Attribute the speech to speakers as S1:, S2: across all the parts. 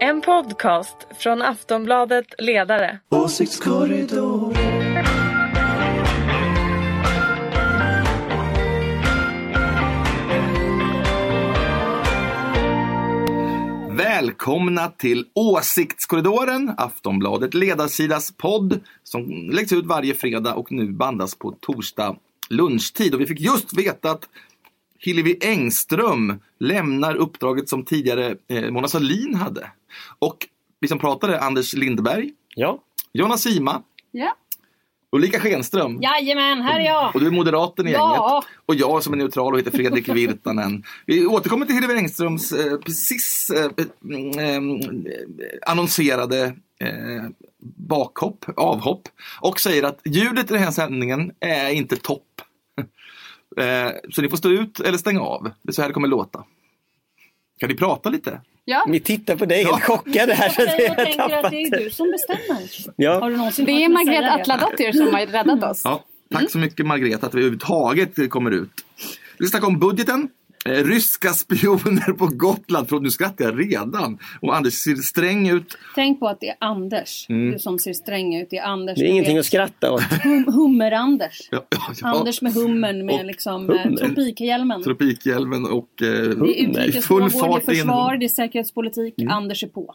S1: En podcast från Aftonbladet Ledare.
S2: Åsiktskorridoren.
S3: Välkomna till Åsiktskorridoren, Aftonbladet ledarsidas podd som läggs ut varje fredag och nu bandas på torsdag lunchtid. Och vi fick just veta att Hillevi Engström lämnar uppdraget som tidigare eh, Mona Sahlin hade. Och vi som pratade, Anders Lindberg,
S4: Ja,
S3: Jonna Sima,
S5: Ja.
S3: Ulrika Schenström
S5: Jajamän, här är jag!
S3: och du är moderaten i
S5: Ja.
S3: gänget. Och jag som är neutral och heter Fredrik Virtanen. Vi återkommer till Hillevi Engströms eh, precis eh, mm, eh, annonserade eh, bakhopp, avhopp. Och säger att ljudet i den här sändningen är inte topp. Eh, så ni får stå ut eller stänga av. Det är så här det kommer låta. Kan ni prata lite?
S5: Ja.
S4: vi tittar på dig helt chockade här. Så att
S6: Jag
S4: jag
S6: tänker att
S4: tappat.
S6: det är du som bestämmer. Har
S4: Ja,
S6: du någonsin
S5: Det är
S6: hört mig säga
S5: Margret
S6: det?
S5: Atladottir som har räddat oss.
S3: Ja, tack så mycket Margareta att vi överhuvudtaget kommer ut. Vi ska snacka om budgeten. Eh, ryska spioner på Gotland. Förlåt, nu skrattar jag redan. Och Anders ser sträng ut.
S6: Tänk på att det är Anders.
S3: Mm.
S6: Du som ser sträng ut. Det är Anders.
S4: det är ingenting att skratta åt.
S6: hum Hummer-Anders.
S3: Ja, ja, ja.
S6: Anders med hummern med
S3: Och
S6: liksom
S4: hummer.
S6: hummer. tropikhjälmen.
S3: Tropikhjälmen och eh,
S6: Det är utrikesfrågor, det är
S3: in. Mm.
S6: försvar, det är säkerhetspolitik. Anders är på.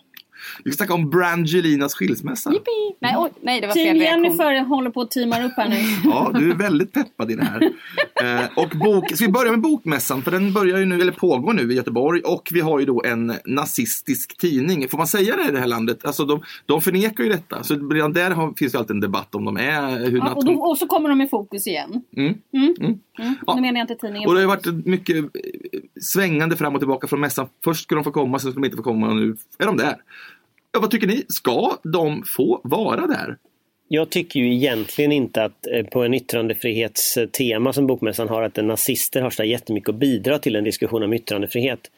S3: Vi ska snacka om Brangelinas skilsmässa.
S5: Nej, oj, nej, det var fel
S6: Team
S5: reaktion.
S6: Mm. Jennifer håller på och teamar upp här nu.
S3: Ja, du är väldigt peppad i det här. Eh, och bok, ska vi börja med Bokmässan? För den börjar ju nu, eller pågår nu i Göteborg. Och vi har ju då en nazistisk tidning. Får man säga det i det här landet? Alltså de, de förnekar ju detta. Så redan där har, finns ju alltid en debatt om de är... Hur
S6: Ja, och,
S3: nation-
S6: då, och så kommer de i fokus igen.
S3: Mm.
S6: Mm.
S3: Mm.
S6: Mm.
S3: Ja.
S6: Nu menar jag inte tidningen.
S3: Och det har ju varit mycket eh, svängande fram och tillbaka från mässan. Först skulle de få komma, sen skulle de inte få komma och nu är de där. Ja, vad tycker ni? Ska de få vara där?
S4: Jag tycker ju egentligen inte att eh, på en yttrandefrihetstema som Bokmässan har att nazister har så där jättemycket att bidra till en diskussion om yttrandefrihet.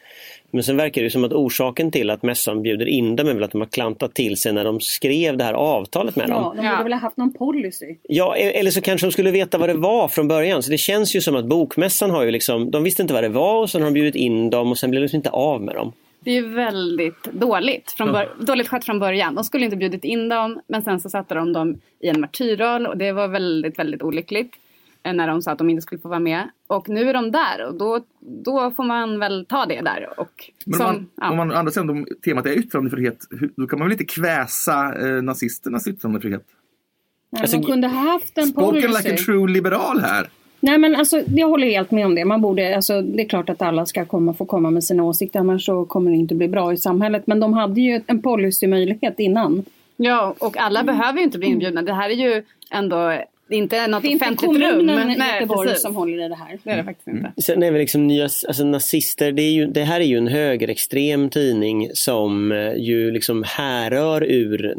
S4: Men sen verkar det ju som att orsaken till att mässan bjuder in dem är väl att de har klantat till sig när de skrev det här avtalet med dem.
S6: Ja, de borde väl ha haft någon policy.
S4: Ja, e- eller så kanske de skulle veta vad det var från början. Så det känns ju som att bokmässan har ju liksom, de visste inte vad det var och sen har de bjudit in dem och sen blev de liksom inte av med dem.
S5: Det är väldigt dåligt. Från bör- Dåligt skött från början. De skulle inte bjudit in dem, men sen så satte de dem i en martyrroll och det var väldigt, väldigt olyckligt. eh, När de sa att de inte skulle få vara med. Och nu är de där och då, då får man väl ta det där. Och,
S3: Men
S5: som-
S3: om, man,
S5: ja.
S3: om man å andra sidan, om temat är yttrandefrihet, hur- då kan man väl inte kväsa eh, nazisternas yttrandefrihet?
S6: Nej,
S4: Alltså,
S6: de kunde ha haft en policy.
S3: Spoken like a true liberal här.
S6: Nej men alltså jag håller helt med om det. Man borde, alltså, det är klart att alla ska komma, få komma med sina åsikter annars så kommer det inte bli bra i samhället. Men de hade ju en policymöjlighet innan.
S5: Ja, och alla
S6: Mm.
S5: behöver ju inte bli inbjudna. Det här är ju ändå inte något
S6: Det är inte
S5: offentligt
S6: kommunen
S5: rum.
S6: i Göteborg
S5: precis.
S6: som håller i det här.
S5: Det är det faktiskt inte.
S4: Sen är väl liksom nya, alltså nazister, det, är ju, det här är ju en högerextrem tidning som eh, ju liksom härrör ur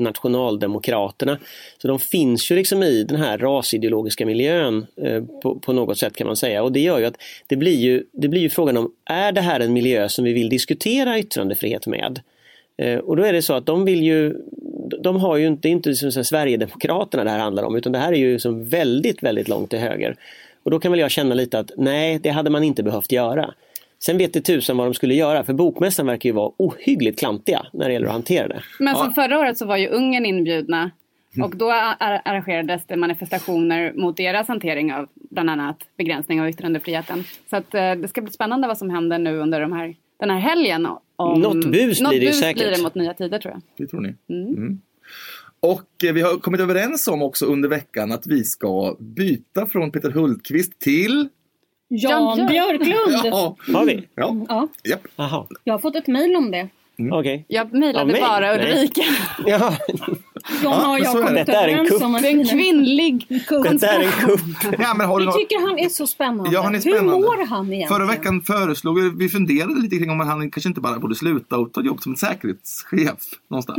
S4: nationaldemokraterna. Så de finns ju liksom i den här rasideologiska miljön eh, på, på något sätt kan man säga. Och det gör ju att det blir ju, det blir ju frågan om, är det här en miljö som vi vill diskutera yttrandefrihet med? Eh, Och då är det så att de vill ju, de har ju inte, det är inte som så här Sverigedemokraterna det här handlar om utan det här är ju som väldigt, väldigt långt till höger. Och då kan väl jag känna lite att nej, det hade man inte behövt göra. Sen vet det tusan vad de skulle göra för bokmässan verkar ju vara ohyggligt klantiga när det gäller att hantera det.
S5: Men som förra året så var ju Ungern inbjudna
S4: Mm.
S5: och då ar- arrangerades det manifestationer mot deras hantering av bland annat begränsning av yttrandefriheten. Så att eh, det ska bli spännande vad som händer nu under de här, den här helgen. Om,
S4: Något bus blir det ju
S5: bus
S4: säkert.
S5: blir det mot nya tider tror jag.
S3: Det tror ni.
S5: Mm.
S3: Mm. Och eh, vi har kommit överens om också under veckan att vi ska byta från Peter Hultqvist till...
S6: Jan
S5: Jan
S6: Björklund! Ja.
S3: Ja,
S4: Har vi?
S3: ja, japp.
S4: Jaha,
S6: jag har fått ett mejl om det.
S4: okej.
S5: Jag
S4: Av
S5: mejlade
S4: mig?
S5: bara
S4: Nej.
S5: Ulrika.
S4: Mm. Ja,
S3: Ja,
S6: John har
S3: men
S6: jag
S3: så är det.
S6: kommit
S4: Detta är en
S6: överens
S4: kupp.
S6: om att
S5: Det är en kvinnlig
S4: det här är en kupp.
S3: Ja, men har du
S6: Vi
S3: något-
S6: tycker han är så spännande.
S3: Ja, han är spännande.
S6: Hur mår han egentligen?
S3: Förra veckan föreslog vi funderade lite kring om han kanske inte bara borde sluta och ta ett jobb som säkerhetschef någonstans.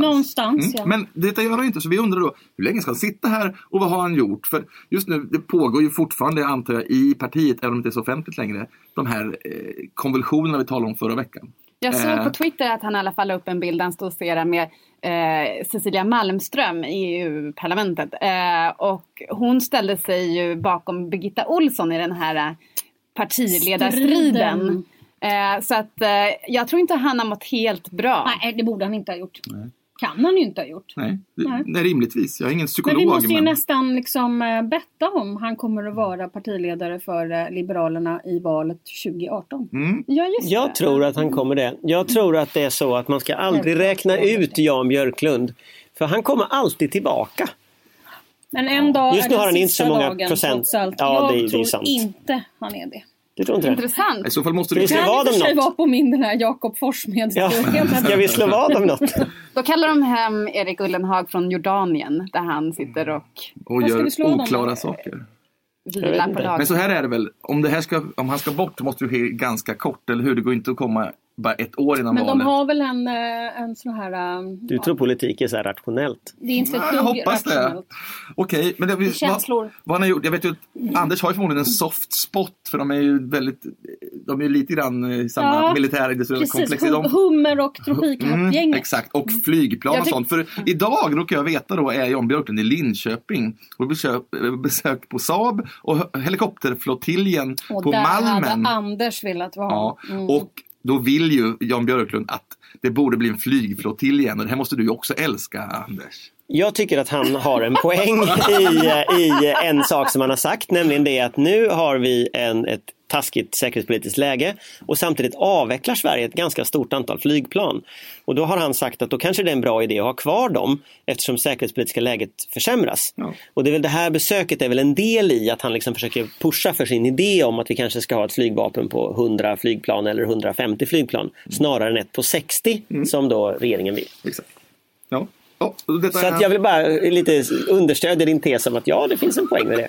S3: Mm.
S6: Någonstans ja.
S3: Men detta gör han inte, så vi undrar då hur länge ska han sitta här och vad har han gjort? För just nu, det pågår ju fortfarande, antar jag, i partiet, även om det inte är så offentligt längre, de här eh, konvulsionerna vi talade om förra veckan.
S5: Jag
S3: Eh.
S5: såg på Twitter att han i alla fall la upp en bild där han stod och serade med eh, Cecilia Malmström i EU-parlamentet. Eh, och hon ställde sig ju bakom Birgitta Olsson i den här eh, partiledarstriden.
S6: Striden.
S5: Eh, så att eh, jag tror inte han har mått helt bra.
S6: Nej, det borde han inte ha gjort. Kan han ju inte ha gjort.
S3: Nej,
S6: Nej.
S3: det, nej, rimligtvis. Jag är ingen
S6: Men
S3: psykolog.
S6: vi måste ju nästan liksom eh, betta om han kommer att vara partiledare för eh, Liberalerna i valet 2018.
S3: Mm.
S5: Ja, just det.
S4: Jag tror att han kommer det. Jag tror att det är så att man ska aldrig räkna ut Jan Björklund. För han kommer alltid tillbaka.
S6: Men en dag
S4: Just nu
S6: är
S4: har
S6: den
S4: han inte
S6: sista
S4: så många
S6: dagen,
S4: procent.
S6: trots allt.
S4: Ja,
S6: Jag
S4: det- det är
S6: tror
S4: sant.
S6: inte han är det.
S4: Du tror inte det?
S5: Intressant.
S3: I så fall måste
S4: Det
S3: du...
S4: är så-
S6: Kan
S4: vad
S6: i
S4: om
S6: och för sig
S4: något?
S6: vara på min den här Jakob Forssmed
S4: Ja. Ska vi slå vad om något?
S5: Då kallar de hem Erik Ullenhag från Jordanien där han sitter och
S3: Och
S6: Vad ska vi
S3: gör
S6: slå dem
S3: oklara
S6: med?
S3: saker.
S4: vet
S5: vilar på
S4: inte.
S3: Men
S5: lagen.
S3: så här är det väl, om, det här ska, om han ska bort måste det ske ganska kort, eller hur? Det går inte att komma bara ett år innan
S6: Men de
S3: valet.
S6: har väl en, eh, en sån här... eh,
S4: Du tror politik är så här rationellt.
S6: Det är inte
S3: Ja,
S6: ett
S3: jag
S6: dugg
S3: hoppas det.
S6: rationellt.
S3: Okej, men det, vi,
S6: känslor.
S3: Vad, vad han har gjort, jag vet ju att Anders har ju förmodligen en soft spot för de är ju väldigt, de är ju lite grann eh, i samma
S6: Ja,
S3: militärindustriella
S6: Precis,
S3: komplex. i
S6: hum-
S3: dem.
S6: hummer och tropikhattgänget.
S3: Mm, exakt, och flygplan
S5: Jag
S3: och
S5: tyck-
S3: sånt.
S6: Mm.
S3: För idag råkar jag veta då är Jan Björklund i Linköping och besök, besök på Saab och hö- helikopterflottiljen
S6: Och
S3: på
S6: där
S3: Malmen.
S6: hade Anders velat vara.
S3: Ja, Och då vill ju Jan Björklund att det borde bli en flygflottilj igen och det här måste du ju också älska Anders.
S4: Jag tycker att han har en poäng i, eh, i en sak som han har sagt, nämligen det att nu har vi en, ett taskigt säkerhetspolitiskt läge och samtidigt avvecklar Sverige ett ganska stort antal flygplan. Och då har han sagt att då kanske det är en bra idé att ha kvar dem eftersom säkerhetspolitiska läget försämras.
S3: Ja.
S4: Och det, är väl det här besöket är väl en del i att han liksom försöker pusha för sin idé om att vi kanske ska ha ett flygvapen på 100 flygplan eller 150 flygplan snarare än ett på 60 som då regeringen vill.
S3: Exakt. Ja. Ja, och detta
S4: Så
S3: är-
S4: att jag vill bara lite understödja din tes om att ja, det finns en poäng med det.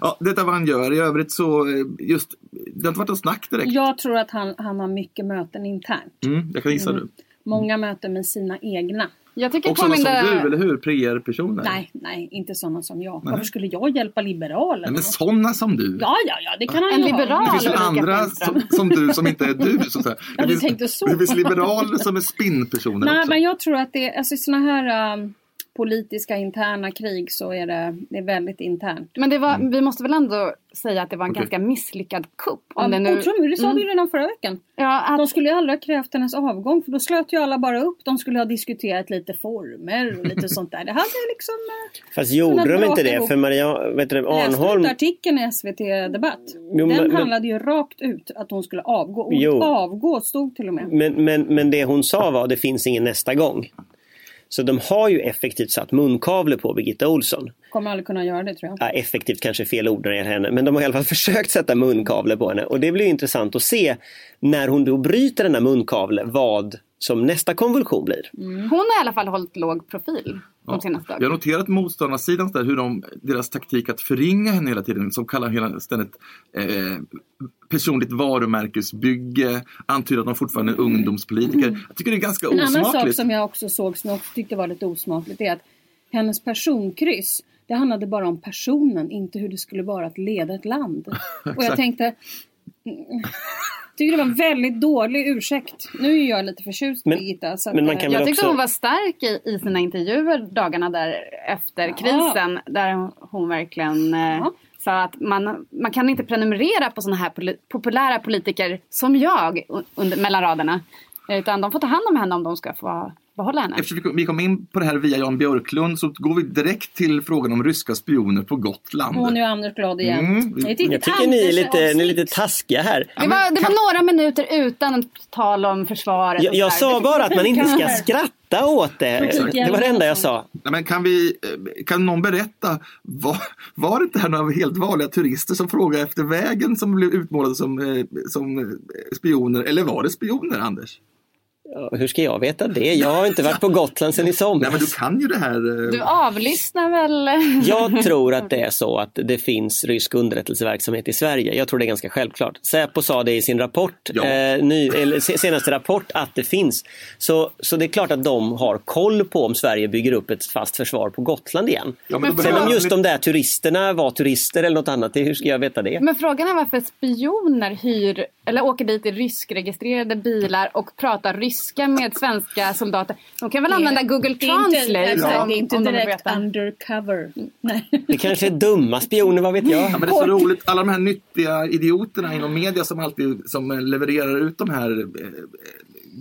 S3: Ja, detta är vad han gör. I övrigt så, eh, just, det har inte varit något snack direkt.
S6: Jag tror att han, han har mycket möten internt.
S3: Mm, jag kan gissa nu.
S6: Många möten med sina egna.
S5: Jag tycker
S3: Och sådana som
S5: påminner-
S3: du, eller hur? PR-personer.
S6: Nej, nej, inte sådana som jag. Varför skulle jag hjälpa liberalerna?
S3: Nej, men sådana som du.
S6: Ja, ja, ja, det kan han
S5: En
S6: ju ha.
S5: liberal.
S3: Det finns ju
S5: Ulrika
S3: andra
S5: Schenström.
S3: som, som du som inte är du. Så att säga.
S6: Ja,
S3: Det
S6: du
S3: finns-
S6: tänkte så.
S3: Det finns liberaler som är spinnpersoner
S6: Nej,
S3: också.
S6: men jag tror att det, alltså i sådana här um, politiska interna krig så är det, det är väldigt internt.
S5: Men det var, vi måste väl ändå säga att det var en
S3: Mm. Okej.
S5: ganska misslyckad kupp.
S6: Ja,
S5: Om det nu,
S6: Otroligt, det sa vi ju redan förra veckan.
S5: ja,
S6: De
S5: att,
S6: skulle ju aldrig ha krävt hennes avgång för då slöt ju alla bara upp. De skulle ha diskuterat lite former och lite sånt där. Det hade liksom... eh,
S4: Fast gjorde de inte det? För Maria vet du,
S6: Läste
S4: Arnholm,
S6: du artikeln i SVT Debatt?
S4: men-
S6: Den
S4: men-
S6: handlade ju rakt ut att hon skulle avgå. Ordet
S4: Jo.
S6: avgå stod till och med.
S4: men, men, men det hon sa var det finns ingen nästa gång. Så de har ju effektivt satt munkavle på Birgitta Olsson.
S6: Kommer aldrig kunna göra det tror jag.
S4: Ja, effektivt kanske är fel ord när det gäller henne, men de har i alla fall försökt sätta munkavle på henne. Och det blir ju intressant att se när hon då bryter denna munkavle, vad som nästa konvulsion blir.
S5: hon har i alla fall hållit låg profil de senaste
S3: Jag
S5: dagarna.
S3: har noterat motståndarsidans där hur de, deras taktik att förringa henne hela tiden, som kallar hela ständigt eh, personligt varumärkesbygge, antyder att de fortfarande är ungdomspolitiker. Jag tycker det är ganska
S6: Mm. En annan sak
S3: osmakligt.
S6: som jag också såg som jag också tyckte var lite osmakligt är att hennes personkryss det handlade bara om personen, inte hur det skulle vara att leda ett land. Och jag tänkte... mm, Tycker det var en väldigt dålig ursäkt. Nu är jag lite förtjust i
S4: Men-
S6: Birgitta. Så
S4: men
S6: att,
S4: man kan
S6: eh,
S4: väl
S5: Jag tyckte
S4: också-
S5: hon var stark i, i sina intervjuer dagarna där efter krisen. Där hon verkligen eh, sa att man, man kan inte prenumerera på sådana här poli- populära politiker som jag u- under, mellan raderna. Utan de får ta hand om henne om de ska få behålla henne.
S3: Eftersom vi kom- vi kom in på det här via Jan Björklund så går vi direkt till frågan om ryska spioner på Gotland.
S6: Åh, nu är Anders glad igen.
S3: Mm.
S6: Det är ett litet
S4: Jag tycker ni är lite,
S6: Anders-avsnitt.
S4: ni är lite taskiga här.
S5: Det var, det var några minuter utan tal om försvaret.
S4: Jag,
S5: och
S4: jag
S5: så här.
S4: sa bara att man inte ska skratta åt det.
S3: Exakt.
S4: Det var det enda jag
S5: liksom.
S4: sa.
S3: Nej, men kan, vi, eh, kan någon berätta, var, var det inte här några helt vanliga turister som frågade efter vägen som blev utmålade som, eh, som eh, spioner? Eller var det spioner, Anders?
S4: Ja, Hur ska jag veta det? Jag har inte varit på Gotland sedan i
S3: Nej, men du
S4: somras.
S3: kan ju det här. eh,
S5: Du avlyssnar väl?
S4: Jag tror att det är så att det finns rysk underrättelseverksamhet i Sverige. Jag tror det är ganska självklart. Säpo sa det i sin rapport,
S3: Ja.
S4: eh, ny, eller se- senaste rapport, att det finns. Så, så det är klart att de har koll på om Sverige bygger upp ett fast försvar på Gotland igen.
S3: Ja, men då
S4: Sen om
S3: behöver
S4: just
S3: ni-
S4: de där turisterna var turister eller något annat, det- hur ska jag veta det?
S5: Men frågan är varför spioner hyr eller åker dit i ryskregistrerade bilar och pratar ryska norska med svenska soldater. De kan väl använda Google
S6: Det är inte,
S5: Translate
S6: exakt,
S5: om,
S6: det är inte
S5: om de vill
S6: direkt
S5: veta. Mm.
S6: undercover. Nej.
S4: Det kanske är dumma spioner, vad vet
S3: Ja,
S4: jag?
S3: men det är så roligt, alla de här nyttiga idioterna inom media som alltid som eh, levererar ut de här eh, eh,
S4: Som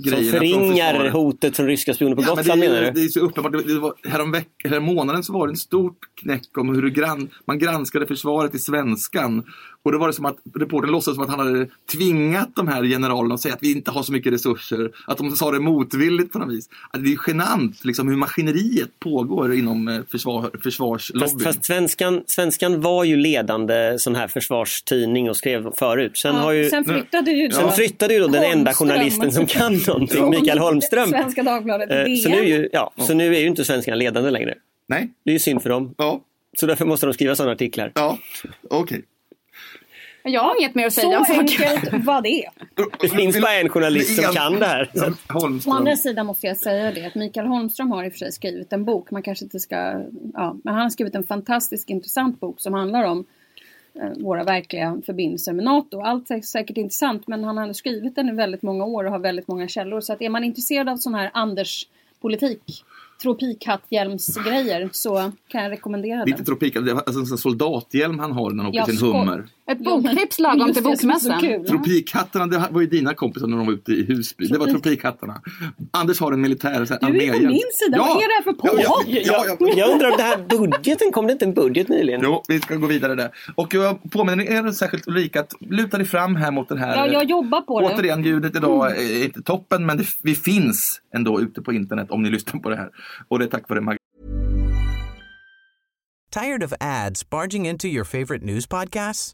S3: grejerna. från
S4: förringar
S3: försvaret.
S4: hotet från ryska spioner på
S3: Ja, men det,
S4: Gotland menar
S3: är ju,
S4: du?
S3: det är så uppenbart. Det- Det var, härom, veck, härom månaden så var det en stort knäck om hur gran, man granskade försvaret i svenskan. Och då var det som att reportern låtsades som att han hade tvingat de här generalerna att säga att vi inte har så mycket resurser. Att de sa det motvilligt på något vis. Alltså, det är ju genant liksom, hur maskineriet pågår inom eh, försvar, försvarslobbyn.
S4: Fast, fast svenskan, svenskan var ju ledande sån här försvarstidning och skrev förut. Sen, har ju,
S6: Sen flyttade ju
S4: sen
S6: då
S4: flyttade ju då den enda
S6: Holmström.
S4: journalisten som kan någonting, Mikael Holmström.
S6: Svenska Dagbladet
S4: Eh,
S6: DN.
S4: Så nu, är ju, ja, så nu är ju inte svenskan ledande längre.
S3: Nej?
S4: Det är ju synd för dem.
S3: Ja.
S4: Så därför måste de skriva sådana artiklar.
S3: Ja, okej.
S5: Jag har inget mer att säga om
S6: Så
S5: saken.
S6: enkelt var det.
S4: Det finns bara en journalist som
S3: Igen.
S4: kan det här.
S3: Ja,
S4: Så-
S6: Å
S3: Holmström.
S6: andra sidan måste jag säga det att Mikael Holmström har i och för sig skrivit en bok. Man kanske inte ska, ja, men han har skrivit en fantastisk intressant bok som handlar om eh, våra verkliga förbindelser med NATO. Allt är säkert intressant men han har skrivit den i väldigt många år och har väldigt många källor. Så att är man intresserad av sån här Anders-politik, tropikhatthjälmsgrejer så kan jag rekommendera
S3: Det är
S6: den.
S3: inte tropik, det är alltså en sån soldathjälm han har när han åker
S6: Ja,
S3: sin
S6: skoj.
S3: hummer.
S5: Ett
S6: Jo, men-
S5: boktips lagom
S6: Just
S5: till
S6: det, som är så
S5: bokmässan.
S6: kul.
S3: Tropikhattarna, det var ju dina kompisar när de var ute i Husby. Det var tropikhattarna. Anders har en militär så här,
S6: Du är på
S3: arméhjälm.
S6: min sida. Vad är det här för
S3: Ja,
S6: påhopp?
S3: ja, ja, ja, ja.
S4: Jag undrar om det här budgeten, kom det inte en budget nyligen?
S3: Jo, vi ska gå vidare där. Och jag påminner er särskilt Ulrika att luta dig fram här mot den här.
S6: Ja, jag jobbar på det. Mm.
S3: Återigen, ljudet idag är inte toppen men det, vi finns ändå ute på internet om ni lyssnar på det här. Och det är tack vare Mag-
S7: Tired of ads barging into your favorite news podcasts?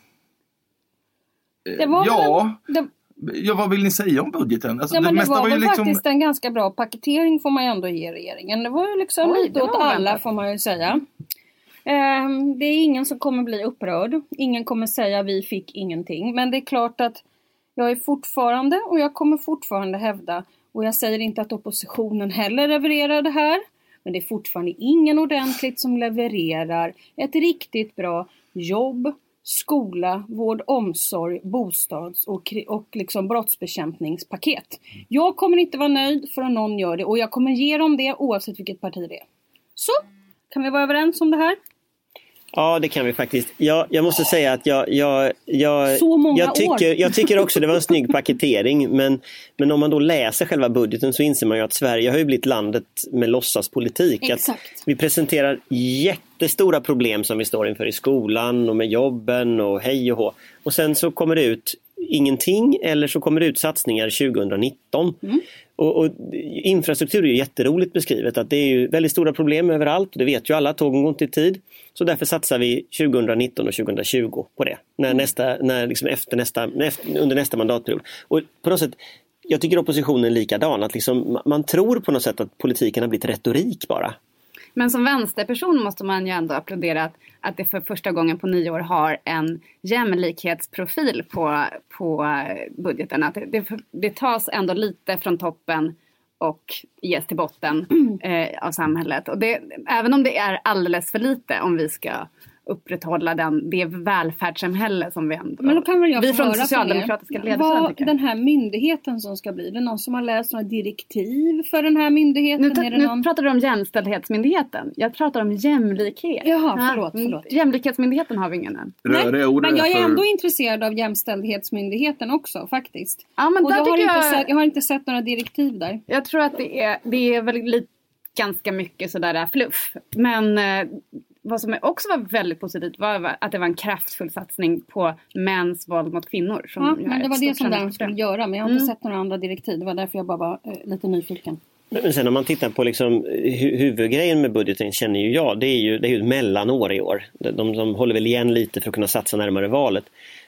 S6: Det var
S3: ja.
S6: väl en, det,
S3: ja, vad vill ni säga om budgeten? Alltså,
S6: Ja, men det
S3: mesta
S6: var,
S3: ju
S6: väl
S3: liksom-
S6: faktiskt en ganska bra paketering får man ju ändå ge regeringen. Det var ju liksom
S5: Oj,
S6: lite
S5: det
S6: åt
S5: var oväntat.
S6: alla får man ju säga. Ehm, det är ingen som kommer bli upprörd. Ingen kommer säga vi fick ingenting. Men det är klart att jag är fortfarande och jag kommer fortfarande hävda och jag säger inte att oppositionen heller levererar det här. Men det är fortfarande ingen ordentligt som levererar ett riktigt bra jobb, skola, vård, omsorg, bostads och, kri- och liksom brottsbekämpningspaket. Jag kommer inte vara nöjd förrän någon gör det och jag kommer ge dem det oavsett vilket parti det är. Så, kan vi vara överens om det här?
S4: Ja, det kan vi faktiskt. Jag, jag måste säga att jag, jag, jag,
S6: Så många
S4: jag, tycker,
S6: år.
S4: jag tycker också det var en snygg paketering. Men, men om man då läser själva budgeten så inser man ju att Sverige har ju blivit landet med låtsaspolitik. Att
S6: Exakt.
S4: vi presenterar jättestora problem som vi står inför i skolan och med jobben och hej och hå. Och sen så kommer det ut ingenting eller så kommer det ut satsningar 2019. Och, och infrastruktur är ju jätteroligt beskrivet att det är ju väldigt stora problem överallt. Det vet ju alla, tågen går inte i tid. Så därför satsar vi 2019 och 2020 på det. När nästa, när liksom efter nästa, efter, under nästa mandatperiod. Och på något sätt, jag tycker oppositionen är likadan. Att liksom, ma- man tror på något sätt att politiken har blivit retorik bara.
S5: Men som vänsterperson måste man ju ändå applådera att, att det för första gången på nio år har en jämlikhetsprofil på, på eh, budgeten. Att det, det, det tas ändå lite från toppen och ges till botten
S6: Mm.
S5: eh, av samhället. Och det, även om det är alldeles för lite om vi ska upprätthålla den, det välfärdssamhälle som vi ändå...
S6: Men då kan väl jag
S5: vi
S6: få
S5: från
S6: höra
S5: socialdemokratiska
S6: från er.
S5: ledarsidan
S6: Vad
S5: tycker.
S6: den här myndigheten som ska bli, är det någon som har läst några direktiv för den här myndigheten?
S5: Nu, ta,
S6: är det
S5: nu
S6: någon...
S5: pratar du om Jämställdhetsmyndigheten. Jag pratar om jämlikhet.
S6: Jaha,
S5: Ja. Mm.
S6: förlåt, förlåt.
S5: Jämlikhetsmyndigheten har vi ingen än.
S3: Röriga ord
S6: men jag är
S3: för-
S6: ändå intresserad av Jämställdhetsmyndigheten också faktiskt.
S5: Ja, men
S6: och
S5: där
S6: jag, har
S5: tycker
S6: inte
S5: jag-
S6: sett, jag har inte sett några direktiv där.
S5: Jag tror att det är, det är väl lite, ganska mycket sådär fluff. Men eh, vad som också var väldigt positivt var att det var en kraftfull satsning på mäns våld mot kvinnor. Som
S6: Ja,
S5: ju är
S6: men det var
S5: ett
S6: det
S5: stort Mm.
S6: som den skulle
S5: samhällsproblem.
S6: göra men jag har inte sett några andra direktiv. Det var därför jag bara var eh, lite nyfiken.
S4: Men men sen om man tittar på liksom hu- huvudgrejen med budgeten känner ju jag, det är ju, det är ju ett mellanår i år. De, de, de håller väl igen lite för att kunna satsa närmare valet.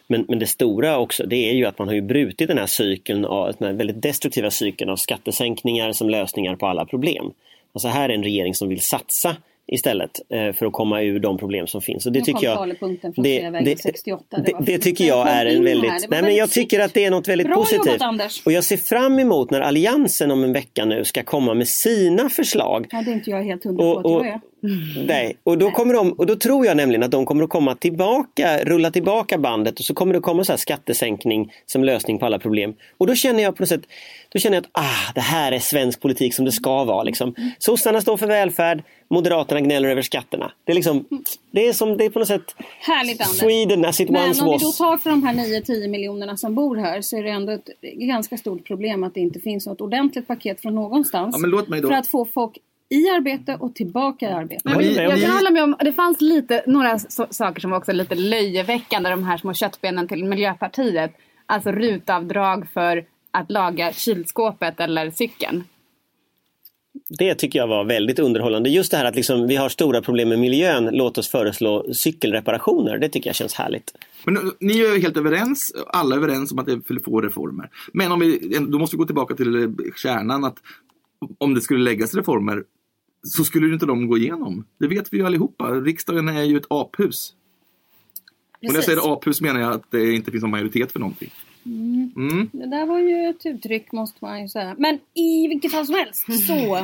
S4: Men, men det stora också det är ju att man har ju brutit den här cykeln, av, den här väldigt destruktiva cykeln av skattesänkningar som lösningar på alla problem. Alltså här är en regering som vill satsa istället eh, för att komma ur de problem som finns. Och det
S6: Nu
S4: tycker
S6: kom
S4: jag...
S6: talepunkten från Sveavägen 68. Det
S4: Det,
S6: var
S4: det,
S6: fint.
S4: tycker jag
S6: Den
S4: är
S6: kom
S4: en
S6: in
S4: väldigt...
S6: här. Det var
S4: nej, men jag
S6: väldigt
S4: tycker att det är något väldigt
S6: Bra
S4: positivt.
S6: jobbat, Anders.
S4: Och jag ser fram emot när Alliansen om en vecka nu ska komma med sina förslag
S6: Ja, det är inte jag helt hundra på
S4: och,
S6: att jag
S4: och,
S6: är.
S4: nej. och, då kommer de, och då tror jag nämligen att de kommer att komma tillbaka, rulla tillbaka bandet och så kommer det komma så här skattesänkning som lösning på alla problem. Och då känner jag på något sätt, då känner jag att ah, det här är svensk politik som det ska vara. Liksom. Sossarna står för välfärd, Moderaterna gnäller över skatterna. Det är, liksom, det är som, det är på något sätt
S6: Härligt Anders.
S4: Sweden as it
S6: Men
S4: once
S6: om vi då
S4: was.
S6: tar för de här 9-10 miljonerna som bor här så är det ändå ett ganska stort problem att det inte finns något ordentligt paket från någonstans.
S3: Ja, men låt mig då-
S6: För att få folk i arbete och tillbaka i arbete.
S5: Nej, men
S3: Ni-
S5: jag
S3: ni-
S5: kan hålla med om, det fanns lite, några so- saker som var också lite löjeväckande, de här små köttbenen till Miljöpartiet. Alltså rutavdrag för att laga kylskåpet eller cykeln.
S4: Det tycker jag var väldigt underhållande. Just det här att liksom, vi har stora problem med miljön, låt oss föreslå cykelreparationer. Det tycker jag känns härligt.
S3: Men nu- ni är ju helt överens, alla är överens om att det är få reformer. Men om vi, då måste vi gå tillbaka till eh, kärnan att om det skulle läggas reformer så skulle ju inte de gå igenom. Det vet vi ju allihopa. Riksdagen är ju ett aphus. Och när jag
S6: Precis.
S3: säger aphus menar jag att det inte finns någon majoritet för någonting. Mm.
S6: Det där var ju ett uttryck måste man ju säga. Men i vilket fall som helst så.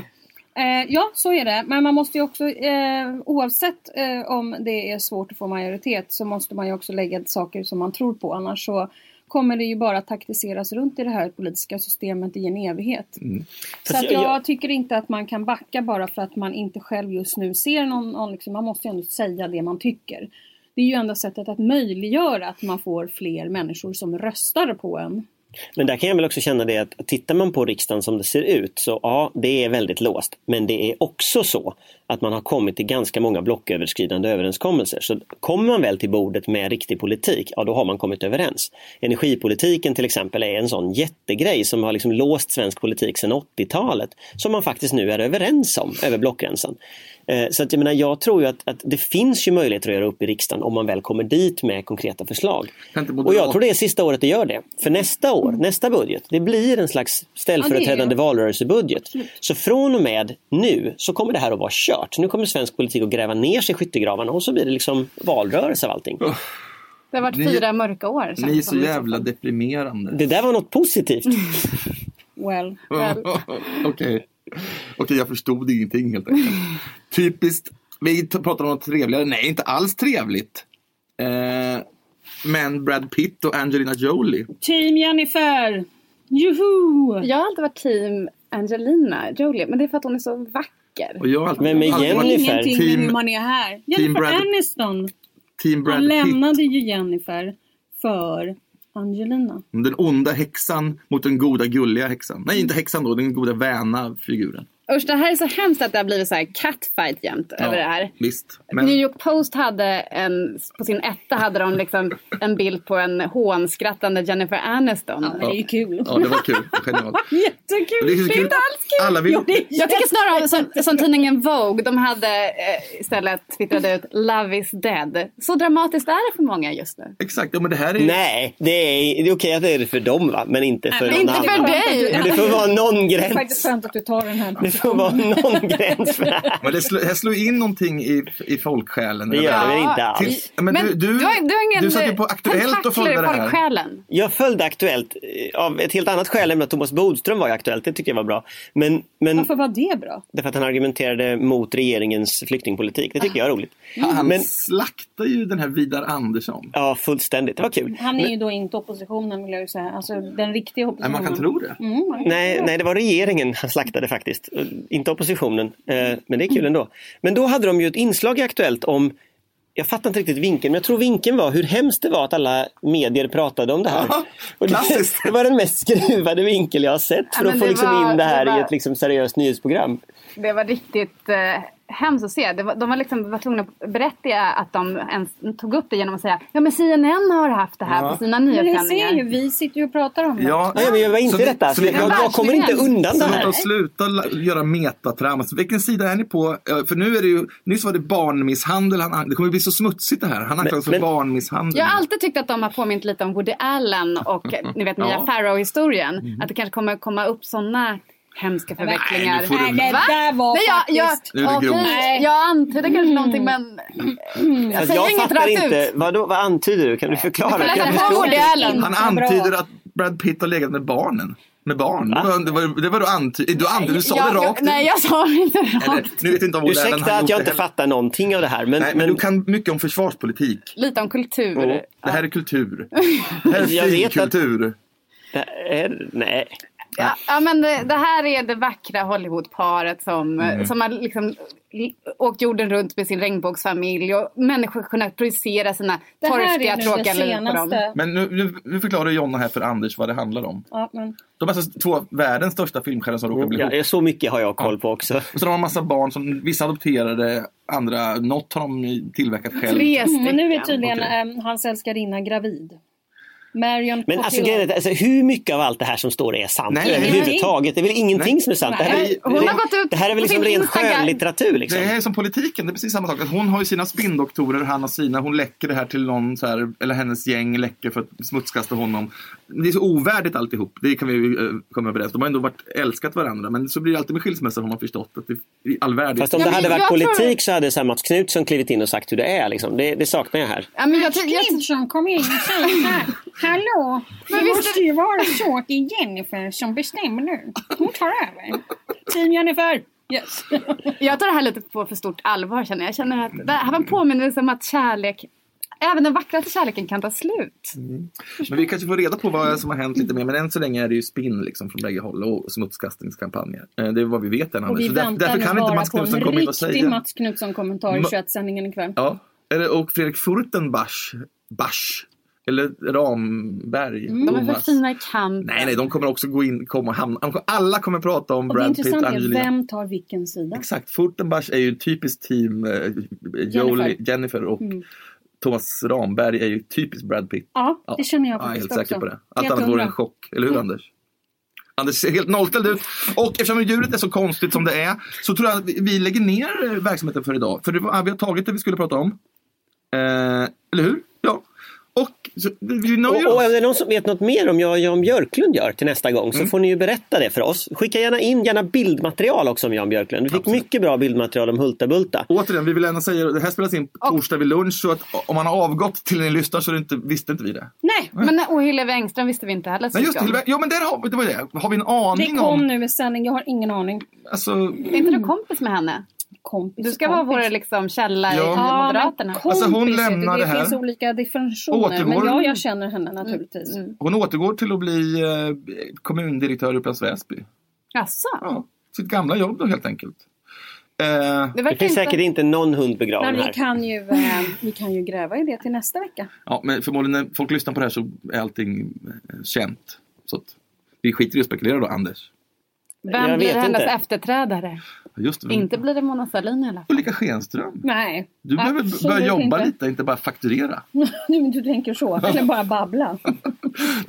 S6: Eh, ja, så är det. Men man måste ju också, eh, oavsett eh, om det är svårt att få majoritet, så måste man ju också lägga saker som man tror på. Annars så kommer det ju bara taktiseras runt i det här politiska systemet i en evighet. Så
S4: Fast
S6: att
S4: jag-
S6: jag,
S4: jag-
S6: tycker inte att man kan backa bara för att man inte själv just nu ser någon, någon liksom, man måste ju ändå säga det man tycker. Det är ju enda sättet att möjliggöra att man får fler människor som röstar på en.
S4: Men där kan jag väl också känna det att tittar man på riksdagen som det ser ut så ja, det är väldigt låst. Men det är också så att man har kommit till ganska många blocköverskridande överenskommelser. Så kommer man väl till bordet med riktig politik, ja då har man kommit överens. Energipolitiken till exempel är en sån jättegrej som har liksom låst svensk politik sedan 80-talet som man faktiskt nu är överens om över blockgränsen. Eh, Så att jag menar, jag tror ju att, att det finns ju möjligheter att göra upp i riksdagen om man väl kommer dit med konkreta förslag.
S3: Kan inte
S4: Och jag
S3: Moderaterna-
S4: tror det är sista året det gör det. För nästa år, nästa budget, det blir en slags ställföreträdande
S6: Ja, det
S4: valrörelsebudget. Så från och med nu så kommer det här att vara kört. Nu kommer svensk politik att gräva ner sig i skyttegravarna och så blir det liksom valrörelse av allting.
S5: Det har varit
S3: Ni-
S5: fyra mörka år. känns
S3: Ni är
S5: det
S3: så
S5: som.
S3: jävla deprimerande.
S4: Det där var något positivt.
S6: Well.
S3: Okej. Okej, jag förstod ingenting helt enkelt. Typiskt. Vi t- pratar om något trevligare. Nej, inte alls trevligt. Eh, men Brad Pitt och Angelina Jolie.
S6: Team Jennifer! Juhu!
S5: Jag har alltid varit team Angelina Jolie, men det är för att hon är så vacker.
S3: Och jag har alltid,
S4: Vem är
S3: alltid varit
S4: Jennifer?
S6: Ingenting med hur
S3: Team,
S6: man är här. Jennifer
S3: Brad-
S6: Aniston.
S3: team
S6: Han
S3: Brad Pitt.
S6: lämnade ju Jennifer för Angelina.
S3: Den onda häxan mot den goda gulliga häxan. Nej, inte häxan då. Den goda väna figuren.
S5: Usch, det här är så hemskt att det har blivit så här catfight jämt över det här.
S3: Visst. Men
S5: New York Post hade en, på sin etta hade de liksom en bild på en hånskrattande Jennifer Aniston.
S6: Men det är ju kul.
S3: ja, det var kul. Genialt.
S6: Jättekul!
S3: Det är så kul. Alla vill...
S6: Jo, det är
S5: Jag tycker snarare som, som tidningen Vogue, de hade eh, istället twittrade ut Love is dead. Så dramatiskt är det för många just nu.
S3: Exakt. Ja, men det här är...
S4: Nej, det är, det är okej att det är det för dem va, men inte för
S5: Men
S4: någon
S5: inte för
S4: annan. Men det
S5: dig!
S4: får vara någon
S6: faktiskt
S4: gräns.
S6: skönt att du tar den
S3: Mm.
S6: här.
S4: Det får vara någon gräns för det här.
S3: Men det slår, här slår in någonting i, i folksjälen.
S4: Det gör det väl inte
S5: Ja.
S4: alls.
S3: Tills, men, du, du,
S5: har- har ingen
S3: du satt ju på Aktuellt och
S5: tentakler
S3: följde
S5: i
S3: det här.
S5: folksjälen.
S4: Jag följde Aktuellt eh, av ett helt annat skäl än att Thomas Bodström var i Aktuellt. Det tycker jag var bra. Men, men
S6: Varför var det bra?
S4: därför att han argumenterade mot regeringens flyktingpolitik. Det tycker jag är roligt.
S3: Ah. Han
S4: Men,
S3: slaktar ju den här Vidar Andersson.
S4: ja, fullständigt. Det var kul.
S6: Han är ju då inte oppositionen vill jag ju säga. Alltså den riktiga
S3: Nej,
S6: oppositionen.
S3: man kan tro det.
S6: Mm, man kan
S4: Nej,
S6: tro det.
S4: nej, det var regeringen han slaktade faktiskt. Eh, Inte oppositionen. Eh, Men det är kul ändå. Men då hade de ju ett inslag i Aktuellt om jag fattar inte riktigt vinkeln, men jag tror vinkeln var hur hemskt det var att alla medier pratade om det här.
S3: Ja,
S4: Och det,
S3: klassiskt.
S4: det var den mest skruvade vinkel jag har sett för
S5: men
S4: att få
S5: det
S4: liksom
S5: var-
S4: in det här
S5: det var-
S4: i ett liksom seriöst nyhetsprogram.
S5: Det var riktigt eh, hemskt att se. Det var, de var, liksom, var tvungna att berätta att de ens tog upp det genom att säga ja men CNN har haft det här på sina
S6: Men ni ser ju,
S5: nyhetssändningar.
S6: vi sitter ju och pratar om det.
S4: Nej, men jag var inte
S3: så vi-
S4: detta.
S3: Så vi,
S4: jag, jag kommer inte undan det
S3: så låt
S4: här.
S3: oss sluta la- göra metatrams. Vilken sida är ni på? Eh, För nu är det ju, nyss var det barnmisshandel. Han, an- det kommer bli så smutsigt det här. Han anklagas för
S4: men-
S3: barnmisshandel.
S5: Jag har alltid tyckt att de har påmint lite om Woody Allen och ni vet Mia
S3: Ja. Mm.
S5: Farrow-historien. Att det kanske kommer komma upp sådana hemska
S6: Nej, men-
S5: förvecklingar.
S3: nu får du-
S6: Nej, det
S5: Va?
S6: där var
S5: Nej, jag, jag,
S6: faktiskt...
S3: Nu är det
S5: okej,
S3: grovt.
S6: Nej. Mm.
S5: jag antyder kanske någonting men jag
S4: Fast
S5: säger
S4: jag
S5: inget
S4: fattar
S5: rakt
S4: inte.
S5: ut.
S4: Vad, vad antyder du? Kan du förklara?
S5: Kolla,
S4: Kan
S5: där
S4: du
S5: var
S4: förklara?
S5: Woody Allen.
S3: Han
S6: Vad bra.
S3: antyder att Brad Pitt har legat med barnen. Med barn. Det var, det var, det var du antyder. Du, antyder, du sa
S5: jag,
S3: det rakt ut.
S5: Nej, jag sa det inte rakt.
S3: Eller, nu vet jag inte om Woody Allen
S4: Ursäkta
S3: hade
S4: att
S3: gjort
S4: jag inte
S3: det heller.
S4: fattar någonting av det här. Men,
S3: Nej, men,
S4: men,
S3: du kan mycket om försvarspolitik.
S5: Lite om kultur.
S4: Jo.
S3: Det här är kultur. Det här är
S4: Jag
S3: fin
S4: vet att-
S3: kultur.
S4: det är, nej.
S5: Ja, ja, men det, det här är det vackra Hollywoodparet som,
S3: Mm.
S5: som har liksom l- åkt jorden runt med sin regnbågsfamilj och människor kunnat projicera sina
S6: Det här
S5: torftiga,
S6: är nu det
S5: tråkiga liv på dem.
S6: senaste.
S3: Men nu, nu, nu förklarar Jonna här för Anders vad det handlar om.
S6: Ja, men,
S3: De är alltså två världens största filmstjärnor som råkar bli ihop.
S4: Ja, så mycket har jag koll på också.
S3: Och så har de en massa barn som vissa adopterade, andra, något har de tillverkat själv.
S5: Tre
S6: men Mm, nu är
S5: stycken.
S6: tydligen
S3: Mm. Okej.
S6: ehm, hans älskarinna gravid. Marion
S4: Men alltså,
S6: Cotillard.
S4: grejen är att, alltså, hur mycket av allt det här som står är sant
S3: Nej, nej,
S4: överhuvudtaget? Det är väl ingenting som är sant? Det här är,
S3: Nej,
S5: hon har gått ut
S4: det här är väl
S5: på
S4: liksom
S5: sin
S4: ren
S5: Instagram.
S4: skönlitteratur? Liksom.
S3: Det här är som politiken, det är precis samma sak. Att hon har ju sina spinndoktorer, han har sina. Hon läcker det här till någon, så här, eller hennes gäng läcker för att smutskasta honom. Det är så ovärdigt alltihop, det kan vi ju eh, komma överens om. De har ändå varit, älskat varandra, men så blir det alltid med skilsmässor har man förstått. Att det, I all värdighet.
S4: Fast om
S5: Ja,
S4: det
S5: men
S4: hade varit
S5: jag tror-
S4: politik så hade så här Mats Knutsson klivit in och sagt hur det är. Liksom. Det, det saknar jag här.
S5: Ja, men jag, ty- jag, ty-
S8: Clinton kom in och säger här. Hallå,
S5: Men
S8: det
S5: visst-
S8: måste ju vara så att det är Jennifer som bestämmer nu. Hon tar över.
S6: Team Jennifer! Yes.
S5: jag tar det här lite på för stort allvar känner jag. jag känner att det här var en påminnelse om att kärlek, även den vackraste kärleken kan ta slut.
S3: Men vi kanske får reda på vad som har hänt lite mer. Men än så länge är det ju spinn liksom från bägge håll och smutskastningskampanjer. Eh, Det är vad vi vet än
S6: Och
S3: Anders.
S6: vi
S3: Så där-
S6: väntar
S3: därför
S6: nu
S3: kan inte
S6: bara
S3: Mats
S6: på
S3: Knutsson
S6: en
S3: komma in och
S6: riktig
S3: säga.
S6: Mats Knutsson-kommentar i
S3: Ma-
S6: 21-sändningen ikväll.
S3: Ja. Eller- Och Fredrik Furtenbach, Bach, eller Ramberg.
S6: Mm,
S5: De är för
S3: Thomas.
S5: fina i kamp.
S3: Nej, nej, de kommer också gå in, komma och hamna. Alla kommer prata om
S6: Och det
S3: Brad Pitt,
S6: intressanta är,
S3: Angelina.
S6: vem tar vilken sida?
S3: Exakt, Furtenbach är ju ett typiskt team. Eh, Jolie, Jennifer och
S6: Mm.
S3: Thomas Ramberg är ju typiskt Brad Pitt.
S6: Ja,
S3: Ja.
S6: det känner jag
S3: Ja, jag är
S6: faktiskt
S3: helt
S6: också.
S3: säker på det. Allt
S6: Helt
S3: annat vore
S6: hundra.
S3: en chock. Eller hur Anders? Anders ser helt nollställd ut. Och eftersom djuret är så konstigt som det är så tror jag att vi- vi lägger ner eh, verksamheten för idag. För det var, vi har tagit det vi skulle prata om. Eh, eller hur? Ja. Och så, vi nöjer
S4: Och, och om
S3: oss.
S4: det är någon som vet något mer om jag Jan Björklund gör till nästa gång så
S6: Mm.
S4: får ni ju berätta det för oss. Skicka gärna in gärna bildmaterial också om Jan Björklund. Vi fick mycket bra bildmaterial om Hultabulta.
S3: Återigen, vi vill gärna säga att det här spelas in på torsdag vid lunch. Så att om man har avgått till ni lyssnar så är det inte, visste inte vi det.
S5: Nej, men och Hillevi Engström visste vi inte heller. så
S3: Men just
S5: mycket om.
S3: till, ja men där har, vi- det var det. Har vi en
S6: Det
S3: aning
S6: kom
S3: om...
S6: nu i sändning, jag har ingen aning.
S3: Alltså,
S5: Är inte du kompis med henne?
S6: Kompis,
S5: Du ska
S6: kompis.
S5: vara vår liksom, källa
S3: Ja.
S5: i
S6: Ja,
S5: Moderaterna.
S6: men
S3: Alltså, hon
S6: kompis, vet du,
S3: lämnar det här.
S6: finns olika definitioner. Men
S3: Återgår-
S6: ja, jag känner henne naturligtvis.
S3: hon återgår till att bli eh, kommundirektör i Upplands Väsby.
S5: Jaså?
S3: ja, sitt gamla jobb då helt enkelt. Eh,
S5: Det
S4: Det
S5: verkar
S4: finns
S5: inte...
S4: säkert inte någon hund
S6: Men
S4: begraven
S6: vi
S4: här.
S6: kan, ju, eh, vi kan ju gräva i det till nästa vecka.
S3: ja, men förmodligen när folk lyssnar på det här så är allting eh, känt. Så att vi skiter i att spekulera då, Anders.
S5: Vem
S4: Jag
S5: blir
S4: vet
S5: hennes
S4: inte. Mm.
S5: efterträdare?
S3: Ja, Just det.
S5: Inte blir det Mona Sahlin i alla fall.
S3: Ulrika Schenström.
S6: Nej,
S3: Du behöver
S6: absolut
S3: börja jobba
S6: inte.
S3: lite, inte bara fakturera.
S6: Nu, men du tänker så, eller bara babbla.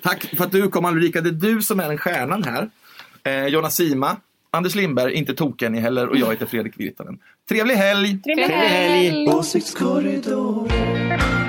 S3: Tack för att du kom Ulrika. Det är du som är den stjärnan här. Eh, Jonas Sima, Anders Lindberg, inte token ni heller och jag heter Fredrik Virtanen. Trevlig helg!
S6: Trevlig
S4: Trevlig helg!
S2: Åsiktskorridoren